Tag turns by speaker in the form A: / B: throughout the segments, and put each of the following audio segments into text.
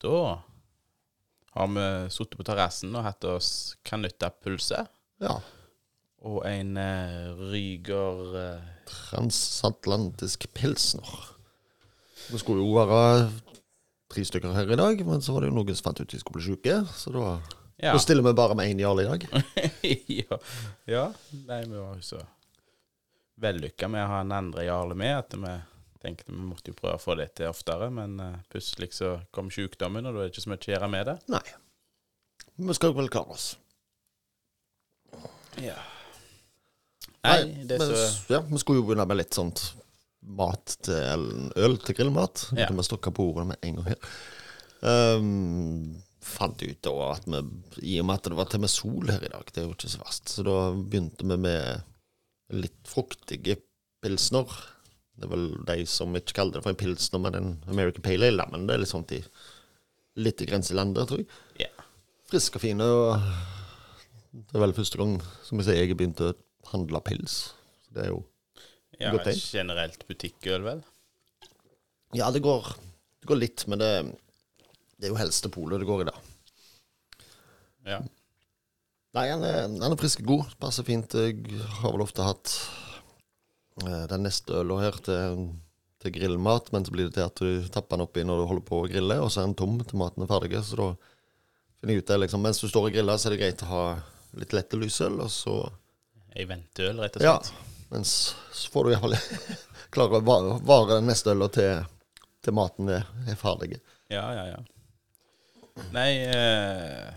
A: Da har vi sittet på terrassen og hatt oss kanuttapølse
B: Ja.
A: og en eh, Ryger eh,
B: Transatlantisk pilsner. Det skulle jo være tre stykker her i dag, men så var det jo noen som fant ut de skulle bli syke. Så da
A: Ja.
B: Nå stiller vi bare med én jarl i dag.
A: ja. ja. Nei, vi var jo så vellykka med å ha en andre jarle med at vi tenkte vi måtte jo prøve å få det til oftere, men eh, plutselig så kom sykdommen, og da er det ikke så mye å gjøre med det.
B: Nei. Vi skal vel klare oss.
A: Ja. Nei, det er
B: men,
A: så
B: s- ja, Vi skulle jo begynne med litt sånt mat til eller øl til grillmat.
A: Ja.
B: Ja. Vi stokka på ordet med en gang her. Ehm, fant ut da at vi, i og med at det var til med sol her i dag, det er jo ikke så verst, så da begynte vi med litt fruktige pilsner. Det er vel de som ikke kaller det for en pilsner, men en American Pale Ale, da, men det er litt sånt i litt i grenselandet, tror jeg.
A: Ja.
B: Friske og fine. Og det er vel første gang som jeg sier jeg begynte å handle pils. Så det er jo
A: ja
B: Godt tegn.
A: generelt butikkøl, vel?
B: Ja, det går, det går litt, men det, det er jo helst til polet det går i dag.
A: Ja.
B: Nei, han er, han er frisk og god. Passer fint. Jeg har vel ofte hatt eh, den neste øla her til, til grillmat, men så blir det til at du tapper den oppi når du holder på å grille, og så er den tom til maten er ferdig. Så da finner jeg ut det, liksom. Mens du står og griller, så er det greit å ha litt lette lysøl, og så
A: Ei venteøl, rett og
B: Ja.
A: slett.
B: Mens så får du iallfall klare å vare, vare den neste øla til, til maten er, er ferdig.
A: Ja, ja, ja. Nei, eh,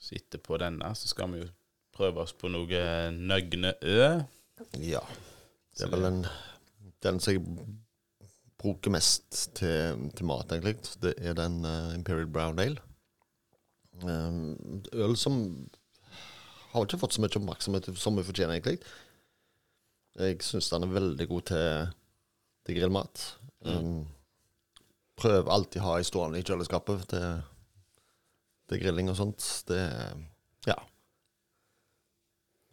A: så etterpå denne så skal vi jo prøve oss på noe Nøgne Ø.
B: Ja. Det er vel den, den som jeg bruker mest til, til mat, egentlig. Det er den eh, Imperial Brown Ale. Um, øl som har ikke fått så mye oppmerksomhet som hun fortjener, egentlig. Jeg syns den er veldig god til, til grillmat. Um, prøver alltid å ha ei stående i kjøleskapet til, til grilling og sånt. Det Ja.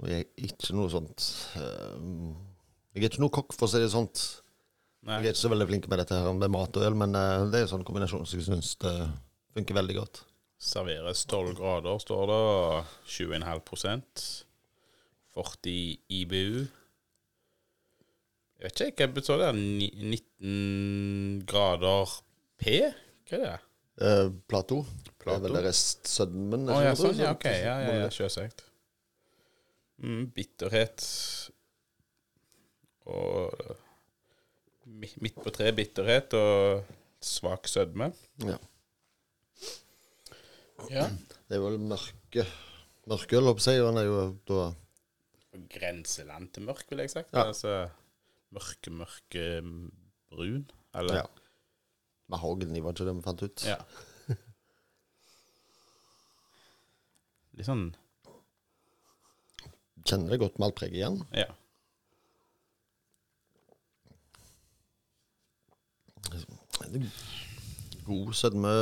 B: Og jeg er ikke noe sånt eh, Jeg er ikke noe kokk, for å si det sånt.
A: Nei.
B: Jeg er ikke så veldig flink med dette her med mat og øl, men eh, det er en sånn kombinasjon som jeg syns funker veldig godt.
A: Serveres 12 grader, står det. og 7,5 40 IBU. Jeg vet ikke, hva består det? Ni- 19 grader P? Hva er det?
B: Eh, Plato.
A: Plato?
B: Det er vel restsødmen.
A: Å ja, sånn, ja, ok.
B: Sånt.
A: Ja, ja, ja, selvsagt. Mm, bitterhet og mi- Midt på treet bitterhet og svak sødme.
B: Ja.
A: Ja.
B: Det er vel mørke mørkeøl, holdt jeg på å si. og Den er jo da
A: Grenseland til mørk, vil jeg sagt.
B: Ja.
A: Altså mørke, mørke brun, eller?
B: Ja. med hogni, var det ikke det vi fant ut?
A: Ja. Litt sånn
B: Kjenner det godt maltpreget igjen.
A: Ja.
B: God sødme.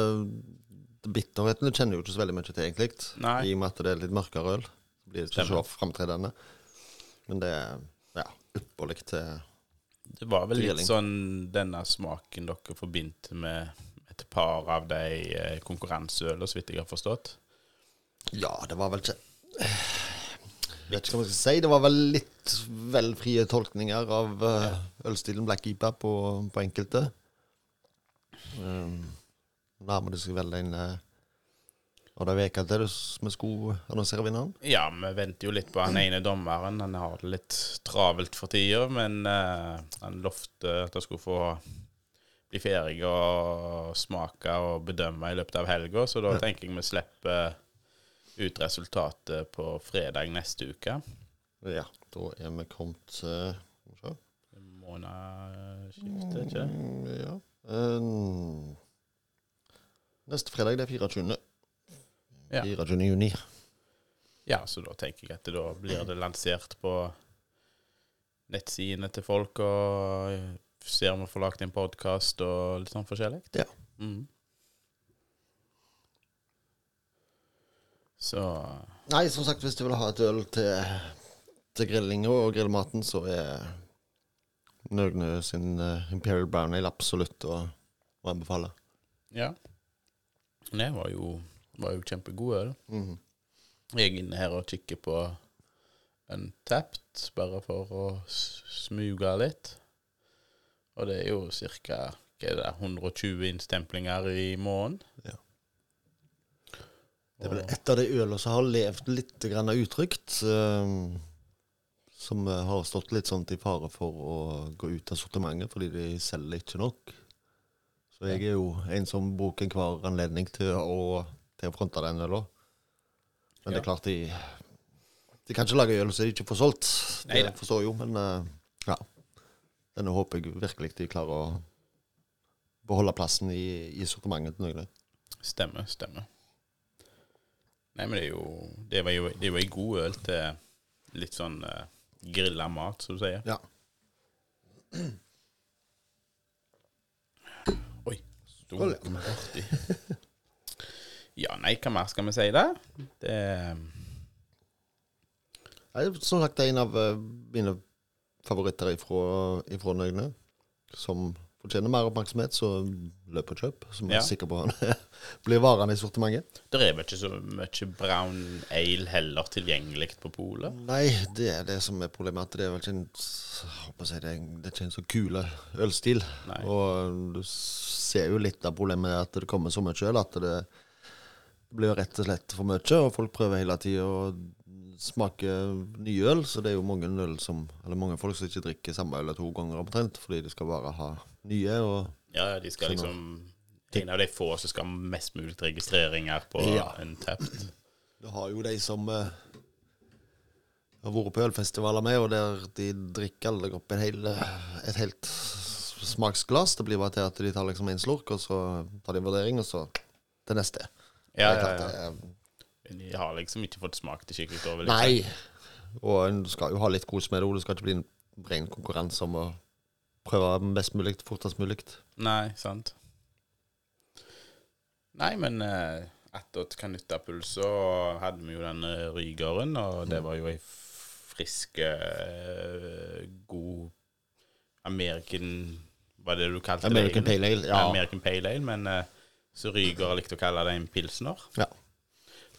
B: Bitterheten du kjenner jo ikke så veldig mye til, egentlig.
A: Nei.
B: I og med at det er litt mørkere øl. Så blir det ikke
A: Stemmer.
B: så framtredende. Men det er ja, ypperlig til
A: Det var vel litt
B: Grilling.
A: sånn denne smaken dere forbindte med et par av de eh, konkurranseølene, så vidt jeg har forstått.
B: Ja, det var vel ikke Vet ikke hva man skal si. Det var vel litt vel frie tolkninger av eh, ølstilen Black Ipa på, på enkelte. Um, nærmer det seg vel en eh, Og det er veka til det s- vi skulle annonsere vinneren.
A: Ja, vi venter jo litt på han ene dommeren. Han har det litt travelt for tida, men eh, han lovte at han skulle få bli ferdig og smake og bedømme i løpet av helga, så da tenker jeg vi slipper ut resultatet på fredag neste uke.
B: Ja, da er vi kommet eh, Skal vi se.
A: Månedsskiftet, ikke det?
B: Mm, Ja. Um, neste fredag, det er 24.
A: Ja.
B: 24. juni.
A: Ja, så da tenker jeg at da blir det lansert på nettsidene til folk, og ser om vi får lagt en podkast og litt sånn forskjellig.
B: Ja.
A: Mhm. Så
B: Nei, som sagt, hvis du vil ha et øl til, til grillinga og grillmaten, så er Nøgne sin eh, Imperial Brown Ale absolutt å, å anbefale.
A: ja. Men det var jo, var jo kjempegod øl.
B: Mhm.
A: Jeg er inne her og kikker på Untapped, bare for å s- smuge litt. Og det er jo ca. 120 innstemplinger i måneden.
B: Det er vel et av de ølene som har levd litt grann utrygt. eh, Som eh, har stått litt sånn til fare for å gå ut av sortimentet fordi de selger ikke nok. Så jeg er jo en som bruker enhver anledning til å, til å fronte den øla. Men det er klart de De kan ikke lage øl som de ikke får solgt. Det
A: Neida.
B: forstår jeg jo, men eh, ja. Denne håper jeg virkelig de klarer å beholde plassen i, i sortimentet til noen.
A: Stemmer, stemmer. Nei, men det er jo Det var jo, det var jo god øl til litt sånn uh, grilla mat, som du sier.
B: Ja.
A: Oi. Stor artig. Ja, nei, hva mer skal vi si da? Det
B: Nei, som sagt, det er en av eh, mine favoritter ifra, ifra Nøgne. Som fortjener mer oppmerksomhet, så løp og kjøp. Som jeg
A: Ja.
B: er sikker på han blir varende i sortimentet.
A: Det er vel ikke så mye brown ale heller tilgjengelig på polet?
B: Nei, det er det som er problemet. At det er vel ikke en, håper jeg, å si, det er en- det er ikke en så kule ølstil.
A: Nei.
B: Og du ser jo litt av problemet med at det kommer så mye øl at det blir jo rett og slett for mye, og folk prøver hele tida å smake ny øl, så det er jo mange øl som Eller mange folk som ikke drikker samme øl to ganger omtrent, fordi de skal bare ha nye og
A: Ja, ja, de skal liksom En av de få som skal ha mest mulig registreringer på
B: Ja.
A: en tapt.
B: Du har jo de som eh, har vært på ølfestivaler med, og der de drikker aldri opp en hel, eh, et helt smaksglass. Det blir bare til at de tar liksom en slurk, og så tar de en vurdering, og så til neste.
A: Ja, ja,
B: Det er klart, eh,
A: ja.
B: det er-
A: Men De har liksom ikke fått smakt det skikkelig over. Liksom.
B: Nei. Og en skal jo ha litt kos med det, og det skal ikke bli en ren konkurranse om å prøve best mulig, fortest mulig.
A: Nei, sant. Nei, men eh, etter et kanuttapuls så hadde vi jo den eh, rygeren, og det var jo ei frisk, eh, god American Hva er det du kalte
B: American
A: det? egentlig?
B: Pale Ale, ja.
A: American Pale Ale, men eh, så ryger likte å kalle det en pilsner.
B: Ja.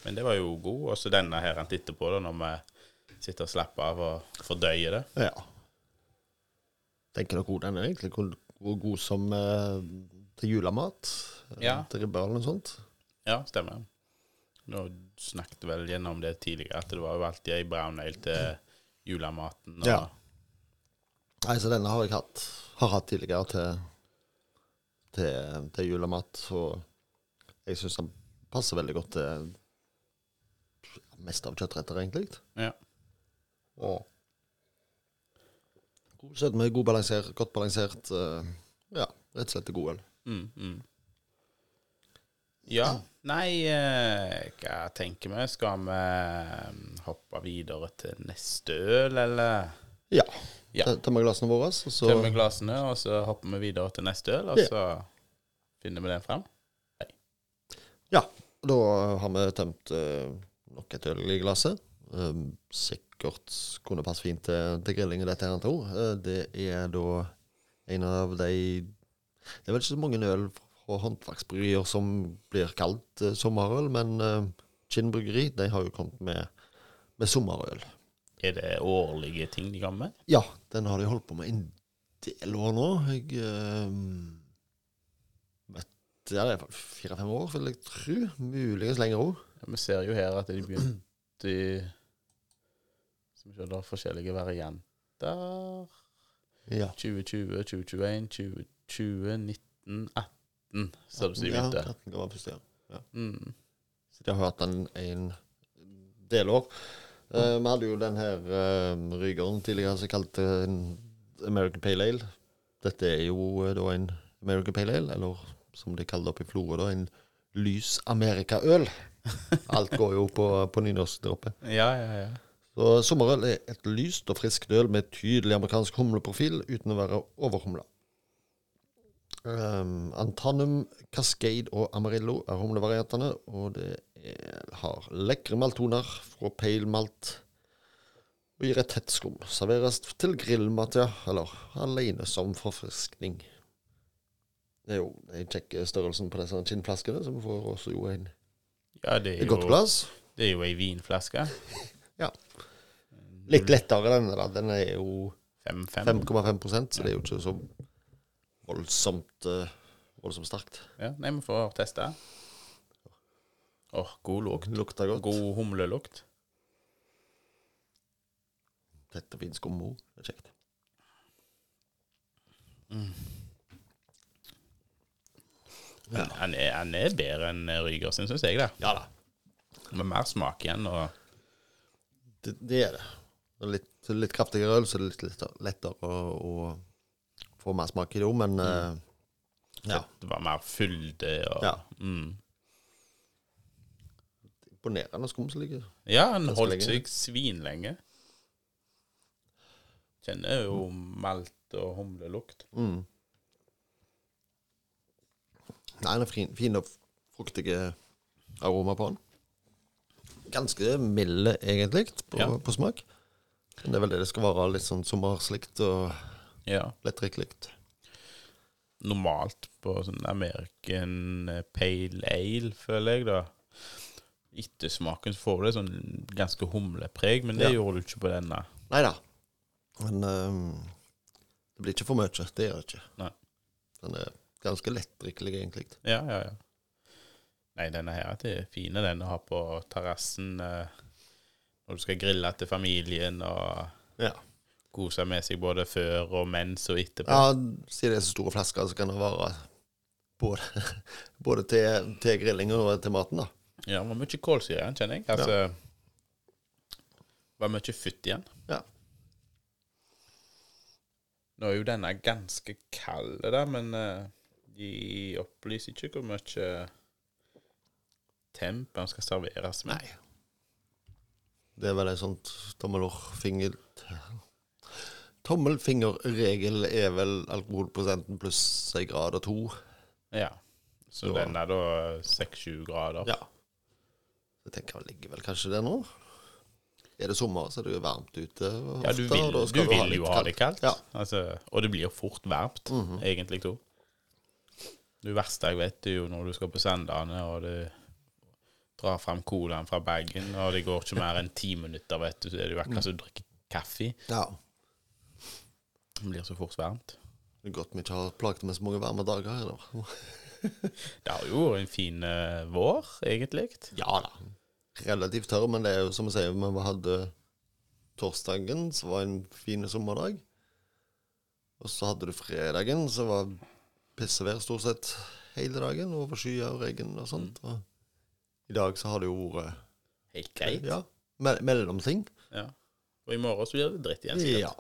A: Men det var jo god, og så denne her han titter på da, når vi sitter og slapper av og fordøyer det.
B: ja. Tenker dere hvor den er egentlig hvor, hvor god som eh, til julemat? eh,
A: Ja.
B: Til ribbe eller noe sånt?
A: Ja, stemmer. Nå snakket vi vel gjennom det tidligere, at det var jo alltid ei brown ale til julematen. Og,
B: Ja. Nei, så denne har jeg hatt, har hatt tidligere til, til, til julemat, og jeg syns den passer veldig godt til mest av kjøttretter, egentlig.
A: Ja.
B: Og god sødme, god balansert, godt balansert. eh, ja, rett og slett god øl.
A: Mm, mm. ja. Nei, eh, hva tenker vi? Skal vi eh, hoppe videre til neste øl, eller?
B: Ja.
A: Ja.
B: T- Tømmer glassene våre, og så
A: Tømmer glassene, og så hopper vi videre til neste øl, og
B: Ja.
A: så finner vi den frem?
B: Ja. Da har vi tømt eh, nok et øl i glasset. Eh, sikkert kunne passe fint til, til grilling i dette her, tror jeg. det er da en av de Det er vel ikke så mange øl fra håndverksbryggerier som blir kalt eh, sommerøl, men eh, Kinn bryggeri de har jo kommet med, med sommerøl.
A: Er det årlige ting de kommer med?
B: Ja, den har de holdt på med en del år nå. Jeg eh, vet Ja, det er fire-fem år, vil jeg tro. Muligens lenger òg.
A: Ja, Vi ser jo her at de begynte i Som vi ser, det er forskjellige varianter.
B: Ja.
A: 2020, 2021, 2020, 19, 18, ser det ut som de
B: Ja,
A: begynte.
B: 13 gammel første, ja.
A: Mm.
B: Så de har hatt den en del år. Eh, vi hadde jo den her uh, rygeren tidligere som kalte en American Pale Ale. Dette er jo eh, da en American Pale Ale, eller som de kaller det oppe i Florø, da, en lys amerikaøl. Alt går jo på, på nynorsk der oppe.
A: Ja, ja, ja.
B: Så sommerøl er et lyst og friskt øl med tydelig amerikansk humleprofil uten å være overhumla. Um, Antanum, Cascade og Amarillo er humlevariantene, og det er, har lekre maltoner fra pale malt og gir et tett skum. Serveres til grillmat, ja, eller alene som forfriskning. Det er jo, jeg sjekker størrelsen på disse kinnflaskene, så vi får også jo en
A: Ja, det er
B: et godt
A: jo,
B: glass.
A: det er jo ei vinflaske.
B: Ja. Litt lettere denne, da. Den er jo
A: 5-5.
B: 5,5 så det er jo ikke så voldsomt, eh, voldsomt sterkt.
A: Ja, nei, vi får teste. Åh, god lukt.
B: Den lukter godt.
A: God humlelukt.
B: Tett og fin skummo. Det er kjekt. Ja.
A: Men Han, er, han er bedre enn Rygersen, syns jeg. da.
B: Ja da.
A: Med mer smak igjen. og
B: Det, det er det. Det er litt, litt kraftigere øl, så det er litt, lettere- lettere å, å få mer smak i det òg, men eh, ja.
A: Det var mer fylde og
B: ja.
A: Mm.
B: Imponerende skum som ligger
A: Ja, han
B: Ganske
A: holdt
B: lenge.
A: seg svinlenge. Kjenner jo malt og humlelukt.
B: Mm. Nei, den er fin, fin og fruktige aroma på den. Ganske milde, egentlig, på,
A: Ja.
B: på smak. Men det er vel det det skal være. Litt sånn sommerslikt og
A: Ja.
B: lettdrikkelig.
A: Normalt på sånn American pale ale, føler jeg, da. Ettersmaken så får du sånn ganske humlepreg, men det
B: Ja.
A: gjorde du ikke på denne.
B: Nei da. Men ehm, det blir ikke for mye. Det gjør det ikke.
A: Nei.
B: Den er ganske lettdrikkelig, egentlig.
A: Ja, ja, ja. Nei, denne her det er fin den å ha på terrassen eh, når du skal grille til familien og
B: Ja.
A: kose med seg både før og mens og etterpå.
B: ja Siden det er så store flasker, så kan det være både, både til, til grillingen og til maten, da.
A: Ja, det var mye kålsyre igjen, kjenner jeg. Altså, Det var mye futt igjen.
B: Ja.
A: Nå er jo denne ganske kald, da, men eh, de opplyser ikke hvor mye temp den skal serveres med.
B: Nei. Det er vel en sånn tommelfinger... Tommelfingerregel er vel alkoholprosenten pluss en grad og to.
A: Ja. Så
B: Så-
A: den er da 6-7 grader.
B: Ja. Jeg tenker han ligger vel kanskje der nå. Er det sommer, så er det jo varmt ute. og
A: Ja, du
B: ofte, og
A: vil,
B: da
A: du
B: skal
A: vil jo ha det kaldt.
B: Ja.
A: Altså, og det blir jo fort varmt,
B: Mhm. Hm.
A: egentlig, to. Det verste jeg vet, er jo når du skal på Sandane, og du drar fram colaen fra bagen, og det går ikke mer enn ti minutter, vet du, så er det jo akkurat som du drikker kaffe.
B: Ja.
A: Det blir så fort varmt.
B: Det er godt vi ikke har plaget med så mange varme dager her nå.
A: Det har jo vært en fin eh, vår, egentlig.
B: Ja da. Relativt tørr, men det er jo som jeg sier, vi hadde torsdagen, som var en fin sommerdag. Og så hadde du fredagen, som var pissevær stort sett hele dagen, over skyer og regn og sånt.
A: Mm.
B: Og i dag så har det jo vært
A: Helt greit. Ja.
B: Ja, me mellomting.
A: Og i morgen så blir det dritt igjen. sikkert.
B: Ja.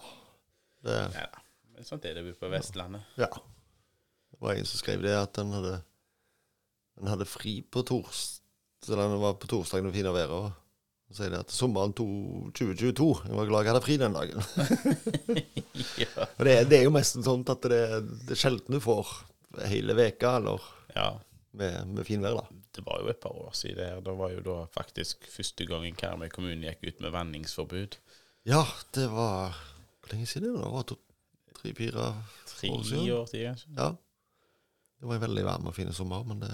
B: Det,
A: Ja, da. Men sånt er det på Vestlandet.
B: ja. Det var en som skrev det, at den hadde, den hadde fri på torsdag. Så den var på torsdag det fine været. og Så sier de at sommeren to, 2022 Jeg var glad jeg hadde fri den dagen.
A: ja.
B: Og det, det er jo mest sånn at det, det er sjelden du får hele veka eller
A: ja.
B: med, med finvær, da.
A: det var jo et par år siden her. Da var jo da faktisk første gangen Karmøy kommune gikk ut med vanningsforbud.
B: Ja, det var Hvor lenge siden er det? da? Det var to, tre, fire
A: Tre
B: År
A: år
B: siden?
A: siden, kanskje.
B: Ja. Det var en veldig varm og fin sommer, men det,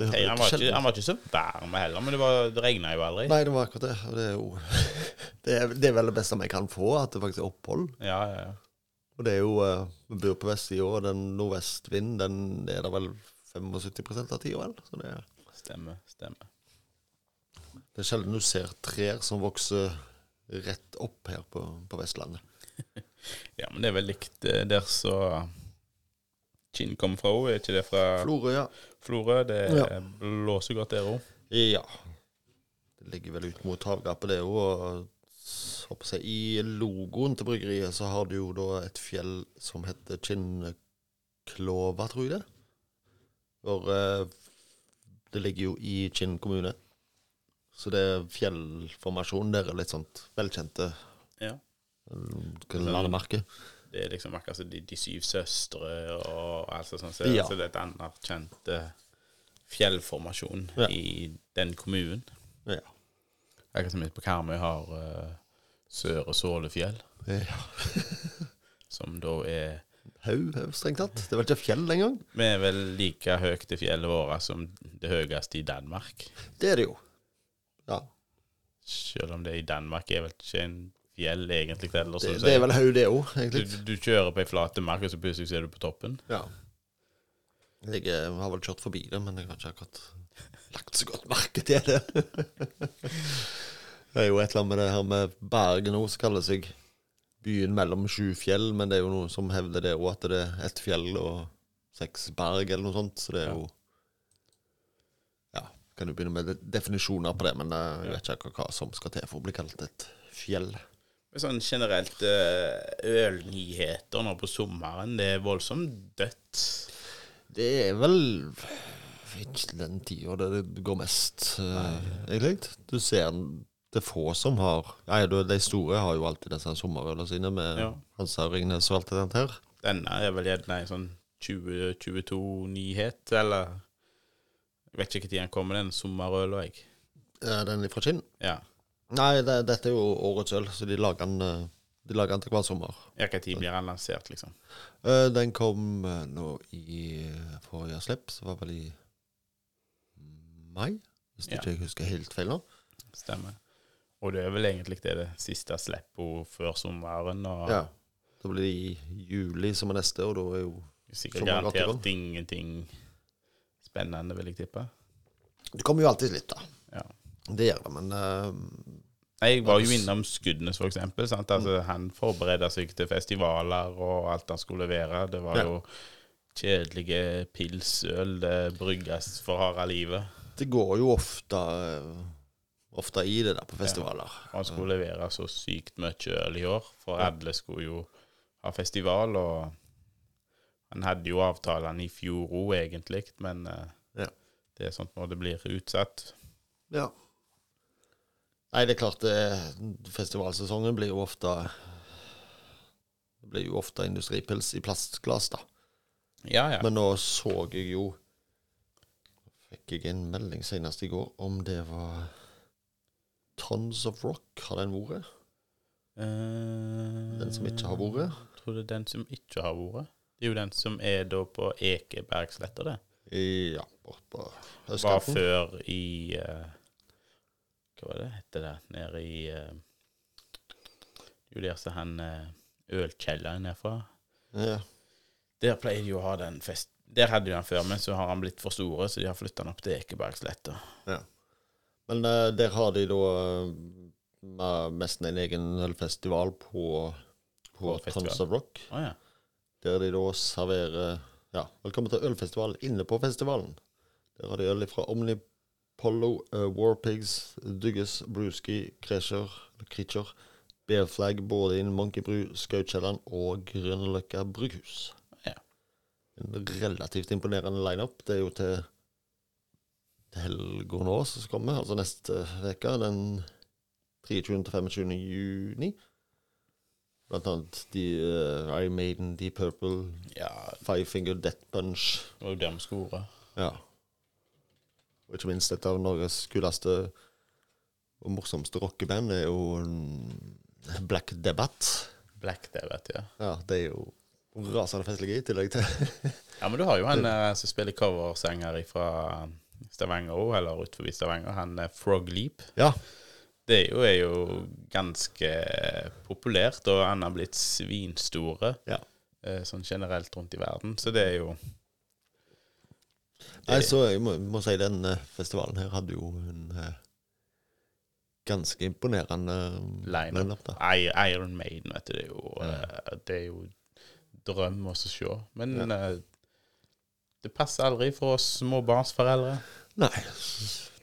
B: det
A: Nei, han, var
B: hører ikke
A: ikke,
B: sjelden
A: han var ikke så varm heller, men det, var- det regna jo aldri.
B: Nei, det var akkurat det. Og det er jo det er, det er vel det beste vi kan få, at det faktisk er opphold.
A: Ja, ja, ja.
B: Og det er jo eh, Vi bor på vestsida, og den nordvestvinden den er der vel 75 av tida, vel. Så det er,
A: Stemmer. stemmer.
B: det er sjelden du ser trær som vokser rett opp her på, på Vestlandet.
A: Ja, men det er vel likt eh, der så Kinn kom fra òg. Er ikke det fra
B: Florø, ja.
A: Florø? Det
B: Ja.
A: blåser godt der òg.
B: Ja. Det ligger vel ut mot havgapet, det òg. Og s- håper jeg, I logoen til bryggeriet så har du jo da et fjell som heter Kinnklova, tror jeg det. For eh, det ligger jo i Kinn kommune. Så det er fjellformasjonen der er litt sånt velkjente
A: Ja.
B: eh, landemerke.
A: Det er liksom akkurat som de, de syv søstre og altså sånn. Så,
B: Ja.
A: så det er et anerkjent eh, fjellformasjon
B: Ja.
A: i den kommunen.
B: Ja.
A: Akkurat som vi på Karmøy har eh, Søre Sålefjell,
B: Eh,
A: som da er
B: haug, haug, strengt tatt. Det var ikke fjell engang.
A: Vi er vel like høyt i fjellet våre som det høyeste i Danmark.
B: Det er det jo. Ja.
A: Selv om det i Danmark er vel ikke en fjell egentlig heller.
B: Det,
A: som du
B: det
A: sier.
B: er vel haug, det òg,
A: du,
B: egentlig.
A: du kjører på ei flate mark, og så plutselig er du på toppen.
B: Ja. Jeg eh, har vel kjørt forbi det, men jeg har ikke akkurat lagt så godt merke til det. det er jo et eller annet med det her med Bergen òg, som kaller seg byen mellom sju fjell. Men det er jo noen som hevder det òg, at det er ett fjell og seks berg, eller noe sånt. Så det er jo Ja, kan jo begynne med de- definisjoner på det, men eh, jeg vet ikke akkurat hva som skal til for å bli kalt et fjell.
A: Men Sånn generelt eh, ølnyheter nå på sommeren, det er voldsomt dødt.
B: Det er vel ikke den tida det det går mest, eh, egentlig. Du ser en- det er få som har Nei, du, de store har jo alltid disse sommerølene sine med
A: Ja.
B: Hansa og Ringnes og alt det der. her.
A: Denne er vel gjerne en sånn 2022-nyhet, eller Jeg vet ikke når den kommer, den sommerøla, jeg.
B: Eh, Den fra Kinn?
A: Ja.
B: Nei, det, dette er jo årets øl, så de lager den, eh, de lager den til hver sommer.
A: Hvilken tid blir den lansert, liksom?
B: Eh, Den kom eh, nå i eh, forrige slipp, så var vel i mai? Hvis
A: Ja.
B: ikke jeg husker helt feil nå.
A: Stemmer. Og det er vel egentlig det, det siste slippet før sommeren, og
B: Ja. Da blir det i juli som er neste, og da er jo
A: sikkert
B: Sommeren går til
A: garantert ingenting spennende, vil jeg tippe.
B: Det kommer jo alltid litt, da.
A: Ja.
B: Det gjør det, men eh,
A: Nei, Jeg var jo innom Skudenes, for eksempel. Sant? Altså,
B: Mm.
A: han forberedte seg til festivaler og alt han skulle levere. Det var
B: Ja.
A: jo kjedelige pilsøl det brygges for harde livet.
B: det går jo ofte eh, Ofte i det der på festivaler.
A: Og han skulle levere så sykt mye øl i år, for alle skulle jo ha festival. Og han hadde jo avtalene i fjor òg, egentlig, men eh,
B: Ja.
A: det er sånt når det blir utsatt.
B: Ja. Nei, det er klart det, Festivalsesongen blir jo ofte Det blir jo ofte industripils i plastglass, da.
A: Ja, ja.
B: Men nå så jeg jo Fikk jeg en melding senest i går om det var Tons of Rock, har den vært?
A: Eh,
B: Den som ikke har vært?
A: Tror det er den som ikke har vært. Det er jo den som er da på Ekebergsletta, det.
B: Ja, bort på
A: Var
B: østkanten.
A: før i eh, Hva var det hette det? Nede i eh, Det er Jo, der som han eh, ølkjelleren er fra.
B: Ja.
A: Der pleier de jo å ha den fest... Der hadde de den før, men så har han blitt for store, så de har flytta den opp til Ekebergsletta.
B: Men eh, der har de da eh, me- mest en egen ølfestival på, på
A: På festival.
B: Tons of Rock.
A: Å ja.
B: Der de da serverer Ja, velkommen til ølfestival inne på festivalen. Der har de øl fra Omnipollo, eh, Warpigs, Dugges, Brewski, Kreischer, Creature, Bearflag, både innen Monkey Brew, Skaukjelleren og Grünerløkka brygghus.
A: Ja.
B: En relativt imponerende lineup. Det er jo til til helga nå som kommer, altså neste uke, den 23. til 25. juni. Blant annet de, eh, Iron Maiden, Deep Purple,
A: ja.
B: Five Finger Death Punch.
A: Det var jo der vi skulle vært.
B: Ja. Og ikke minst et av Norges kuleste og morsomste rockeband er jo mm, Black Debate.
A: Black der, vet du. Ja.
B: Ja, det er jo rasende festlige i tillegg til
A: ja, men du har jo han eh, som spiller coversanger fra Stavanger òg, eller ut forbi Stavanger. Han eh, Frog Leap.
B: Ja.
A: Det er jo, er jo ganske populært, og han har blitt svinstore
B: ja.
A: eh, sånn generelt rundt i verden. Så det er jo
B: Nei, så jeg må, må si den eh, festivalen her hadde jo en eh, ganske imponerende
A: Lineup.
B: lineup, da.
A: I, Iron Maiden, vet du. Det er jo, eh, det er jo drøm å se. Men eh, det passer aldri for oss småbarnsforeldre.
B: Nei,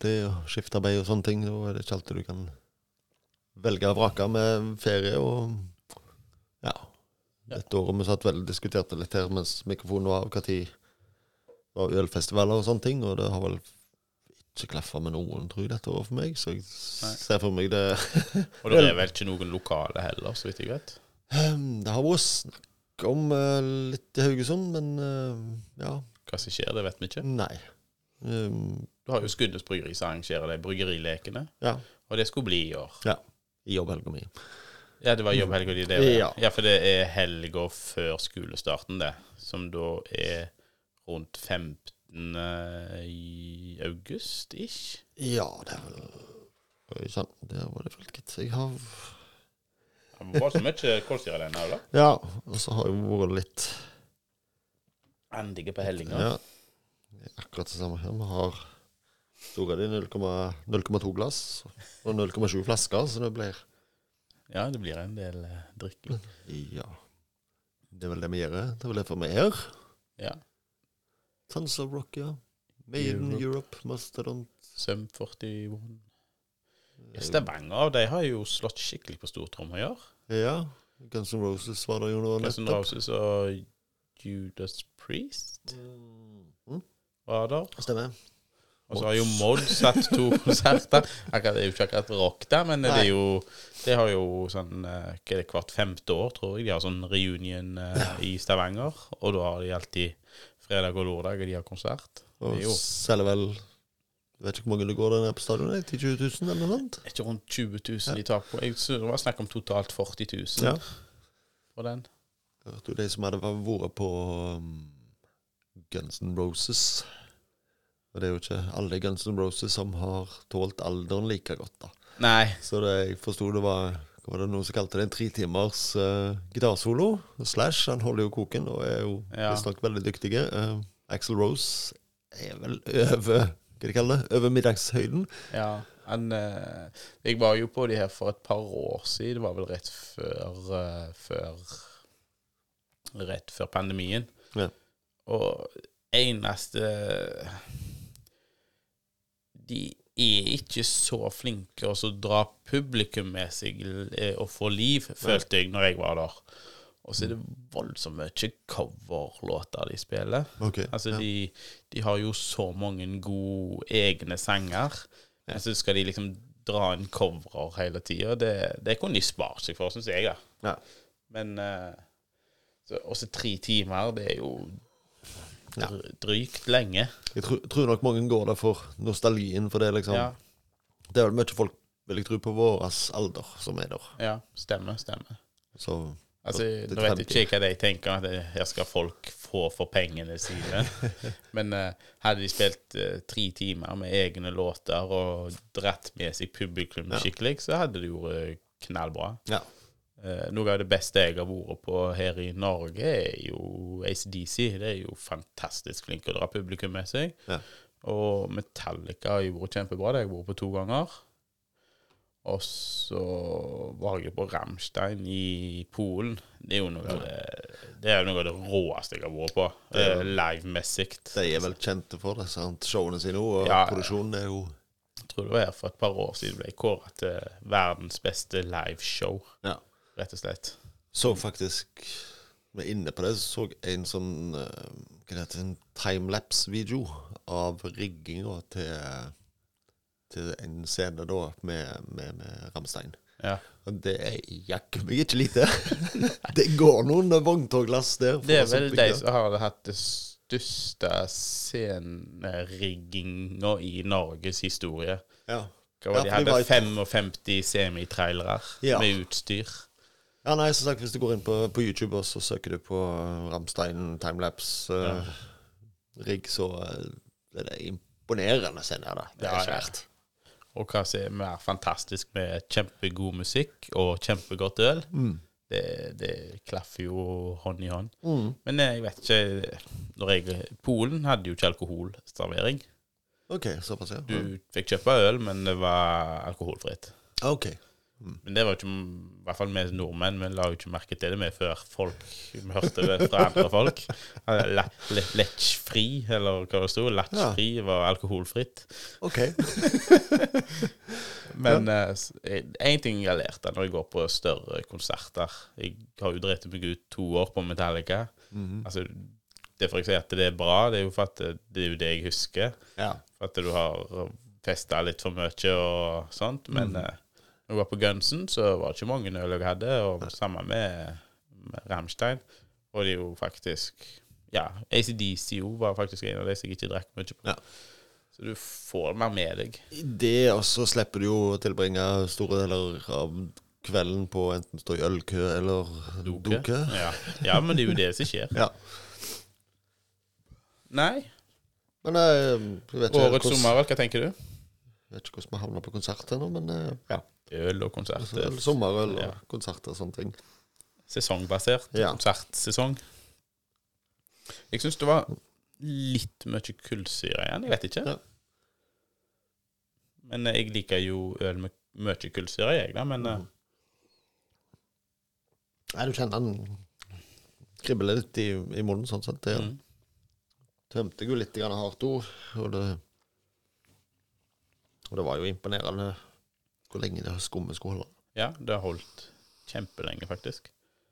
B: det er jo skiftarbeid og sånne ting. Da er det ikke alltid du kan velge og vrake med ferie og Ja. Dette året vi satt vel og diskuterte litt her mens mikrofonen var av, når det var ølfestivaler og sånne ting, og det har vel ikke klaffa med noen, tror jeg, dette året for meg. Så jeg ser for meg det
A: Og det er vel ikke noen lokale heller, så vidt jeg vet.
B: Ehm, Det har vært snakk om eh, litt i Haugesund, men eh, ja,
A: Hva som skjer, det vet vi ikke.
B: nei. Ehm,
A: Du har jo Skudenes Bryggeri som arrangerer de bryggerilekene,
B: ja.
A: og det skulle bli i år.
B: ja. I jobbhelga mi.
A: Ja, det var jobbhelga di, det. var det.
B: Ja.
A: Ja, for det er helga før skolestarten, det. Som da er rundt 15. i august, ish.
B: Ja, det er vel Oi sann, der var det fullt, gitt. Jeg har
A: Det var så mye kålsyre den her, da.
B: Ja, og så har jeg vært litt
A: Endige på hellinga.
B: Ja. Det er Akkurat det samme her. Vi har store de 0,2 glass og 0,7 flasker, så det blir
A: Ja, det blir en del eh, drikke.
B: Ja. Det er vel det vi gjør. Det er vel derfor vi er her.
A: Ja.
B: Tons of rock, ja. Made in
A: Europe.
B: Europe, Mastodon
A: Søm 41. Ja, Stavanger de har jo slått skikkelig på stortromma i år.
B: Ja. Guns N' Roses var det jo nå
A: Guns N'
B: nettopp.
A: Roses og Judas Priest
B: Mm.
A: var der.
B: Stemmer.
A: Og så har jo Mods hatt to konserter. Akkurat, det er jo ikke akkurat rock, da, men det er jo Det har jo sånn eh, hva er det, hvert femte år, tror jeg, de har sånn reunion eh, i Stavanger. Og da har de alltid fredag og lørdag, og de har konsert.
B: Og
A: Det er jo-
B: selger vel Vet ikke hvor mange det går der nede på stadionet? 10 000-20 000 eller noe sånt?
A: Er ikke rundt 20 000 de tar på? Jeg så det var snakk om totalt 40 000
B: Ja.
A: på den.
B: Jeg hørte jo de som hadde vært på um, Guns N' Roses. Og det er jo ikke alle Guns N' Roses som har tålt alderen like godt, da.
A: Nei.
B: Så det, jeg forsto det var hva var det noen som kalte det en tretimers uh, gitarsolo. Slash, han holder jo koken og er jo
A: Ja.
B: visstnok veldig dyktige. Uh, Axel Rose er vel over hva de kaller det, over middagshøyden.
A: Ja. Han, eh, jeg var jo på de her for et par år siden. Det var vel rett før, eh, før Rett før pandemien.
B: Ja.
A: Og eneste De er ikke så flinke til å dra publikum med seg eh, og få liv, følte jeg, når jeg var der. Og så er det voldsomt mye coverlåter de spiller.
B: Ok,
A: Altså,
B: ja.
A: de, de har jo så mange gode egne sanger, men så skal de liksom dra inn coverer hele tida. Det, det kunne de spart seg for, syns jeg. da.
B: Ja.
A: Men eh, så, også tre timer, det er jo
B: Ja.
A: dr- drygt lenge.
B: Jeg tror, tror nok mange går der for nostalgien, for det er liksom
A: Ja,
B: Det er vel mye folk, vil jeg tro, på vår alder som er der.
A: ja stemmer, stemmer.
B: Så
A: Altså,
B: Det er
A: nå vet jeg
B: 50.
A: ikke hva de tenker, at det- her skal folk få for pengene sine. Men eh, hadde de spilt eh, tre timer med egne låter og dratt med seg publikum
B: Ja.
A: skikkelig, så hadde det vært eh, knallbra.
B: ja.
A: Eh, noe av det beste jeg har vært på her i Norge, er jo ACDC. Det er jo fantastisk flinke å dra publikum med seg.
B: Ja.
A: Og Metallica har jo vært kjempebra. Det har jeg vært på to ganger. Og så var jeg på Rammstein i Polen. Det er jo noe av det, det, er jo noe av det råeste jeg har vært på.
B: Det er-
A: Eh, Live-messig.
B: De er vel kjente for det. sant? Showene sine og
A: Ja.
B: produksjonen er jo
A: Jeg tror det var her for et par år siden ble jeg kåra til verdens beste liveshow,
B: ja.
A: rett og slett.
B: Så faktisk Vi er inne på det, så så jeg en sånn eh, Hva det heter en timelapse-video av rigginga til Til en scene da med, med, med Ramstein.
A: Ja.
B: Og det er jaggu meg ikke lite. det går noen vogntoglass der. for
A: Det er
B: oss
A: vel
B: oppe i
A: de
B: der.
A: som har hatt det største scenerigginga i Norges historie.
B: Ja.
A: Hva var det? De
B: Ja, for det
A: hadde
B: var et-
A: 55 semitrailere
B: Ja.
A: med utstyr.
B: ja, nei, som sagt, hvis du går inn på, på YouTube og så søker du på eh, Ramstein timelapse-rigg, eh, så eh, er det imponerende scene her, da. Det
A: Ja,
B: er
A: ja.
B: svært.
A: Og hva som er mer fantastisk med kjempegod musikk og kjempegodt øl, det, det klaffer jo hånd i hånd.
B: Mm.
A: Men eh, jeg vet ikke når jeg, Polen hadde jo ikke alkoholservering.
B: OK, såpass, ja.
A: Du fikk kjøpe øl, men det var alkoholfritt.
B: OK.
A: Men det var jo ikke I hvert fall vi nordmenn vi la jo ikke merke til det med før folk vi hørte det fra andre folk. Letchfri, eller hva det sto. Letchfri var alkoholfritt.
B: ok
A: Men eh, s- eh, en ting jeg har lært da når jeg går på større konserter Jeg har jo drept meg ut to år på Metallica. Altså, det er for jeg sier at det er bra, det er jo for at eh, det, det er jo det jeg husker.
B: Ja.
A: For at du har festa litt for mye og sånt. Men
B: Mm.
A: eh, når jeg var på Gunsen, så var det ikke mange øl jeg hadde. Og samme med, med Rammstein. Og det er jo faktisk Ja, ACDC jo var faktisk en av de som jeg ikke drakk mye på.
B: Ja.
A: Så du får mer med deg.
B: Det, og så slipper du jo å tilbringe store deler av kvelden på enten stå i ølkø eller
A: Doke.
B: dokø.
A: Ja. ja, men det er jo det som skjer.
B: Ja.
A: Nei.
B: Men eh, jeg vet ikke
A: Årets
B: hvordan-
A: sommervalg, hva tenker du?
B: Jeg vet ikke hvordan vi havna på konsert ennå, men eh, ja.
A: Øl og
B: Altså,
A: konserter.
B: Sommerøl og
A: Ja.
B: konserter og sånne ting.
A: Sesongbasert.
B: Ja.
A: Konsertsesong. Jeg syns det var litt mye kullsyre igjen. Jeg vet ikke.
B: Ja.
A: Men eh, jeg liker jo øl med mye kullsyre, jeg, da.
B: Mm.
A: Men eh,
B: Nei, du kjenner den kribler litt i, i munnen, sånn sett. Det
A: mm.
B: tømte jeg jo litt grann hardt ord, og det Og det var jo imponerende hvor lenge det skummet skulle holde.
A: ja, det har holdt kjempelenge, faktisk.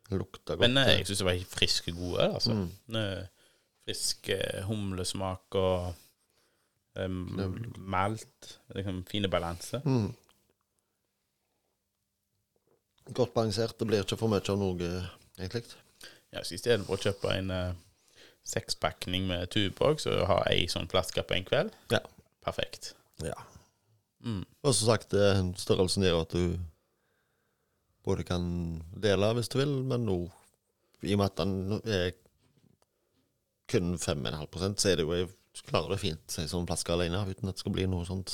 B: Det lukta godt.
A: Men eh, jeg syns det var friske, gode øl, altså.
B: Mm.
A: Eh, Frisk eh, humlesmak og eh, malt. Liksom fine balanse.
B: Mm. Godt balansert. Det blir ikke for mye av noe, egentlig.
A: Ja, så Istedenfor å kjøpe en uh, sekspakning med Tuborg, så ha ei sånn flaske på en kveld.
B: Ja.
A: Perfekt.
B: Ja.
A: Mm.
B: Og som sagt, det er en størrelsen gjør at du både kan dele hvis du vil, men nå, i og med at den er kun 5,5 så er det jo jeg klarer det fint ei sånn flaske alene uten at det skal bli noe sånt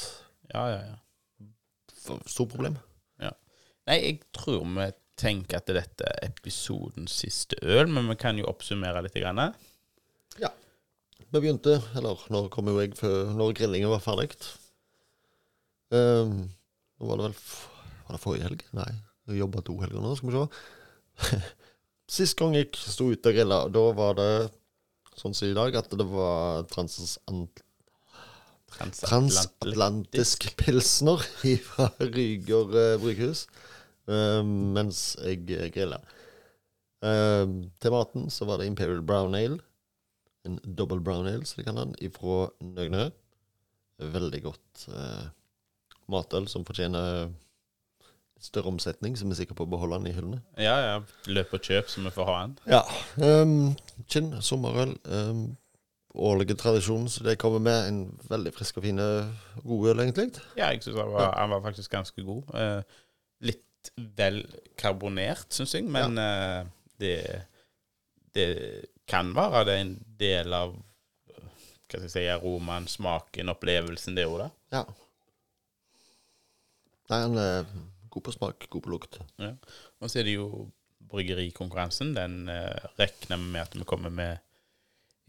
A: Ja, ja, ja.
B: for stort problem.
A: Nei, jeg tror vi tenker at dette er episodens siste øl, men vi kan jo oppsummere litt. Grann.
B: Vi begynte, eller når kom jo jeg før, når grillingen var ferdig. Ehm, nå var det vel f- Var det forrige helg? Nei, jeg jobba to helger nå, skal vi se. Sist gang jeg sto ute og grilla, da var det sånn som i dag, at det var transant-
A: Transatlantisk.
B: transatlantisk pilsner fra Ryger eh, bryghus, ehm, mens jeg grilla. Ehm, til maten så var det Imperial Brown Ale. En double brown ale, som de kaller den, ifra Nøgnø. Veldig godt eh, matøl som fortjener eh, større omsetning, så vi er sikre på å beholde den i hyllene.
A: Ja, ja. Løp og kjøp, så vi får ha en.
B: Ja. Um, gin, sommerøl. Um, årlige tradisjonen, så det kommer med en veldig frisk og fine god øl, egentlig.
A: Ja, jeg syns han, var- han var faktisk ganske god. Eh, litt vel karbonert, syns jeg, men eh, det, det kan være det er en del av eh, hva skal jeg si, aromaen, smaken, opplevelsen, det òg, da.
B: Ja. Nei, han er god på smak, god på lukt.
A: Ja. Og så er det jo bryggerikonkurransen. Den eh, regner vi med at vi kommer med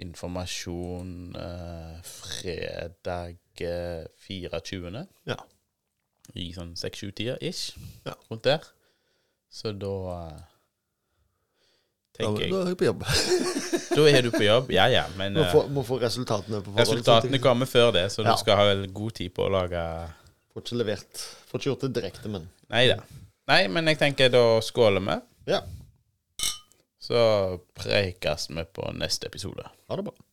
A: informasjon eh, fredag eh, 24.
B: Ja.
A: I sånn 6-7-tida ish.
B: Ja.
A: Rundt der. Så da eh,
B: Da,
A: tenker
B: da
A: jeg
B: er jeg på jobb.
A: Da er du på jobb. Ja ja, men
B: Må
A: eh,
B: få, må få resultatene på forhånd.
A: resultatene kommer før det, så
B: Ja.
A: du skal ha vel god tid på å lage
B: Får ikke levert. Får ikke gjort det direkte, men
A: Nei da. Nei, men jeg tenker da skåler vi.
B: ja.
A: Så preikes vi på neste episode.
B: Ha det bra.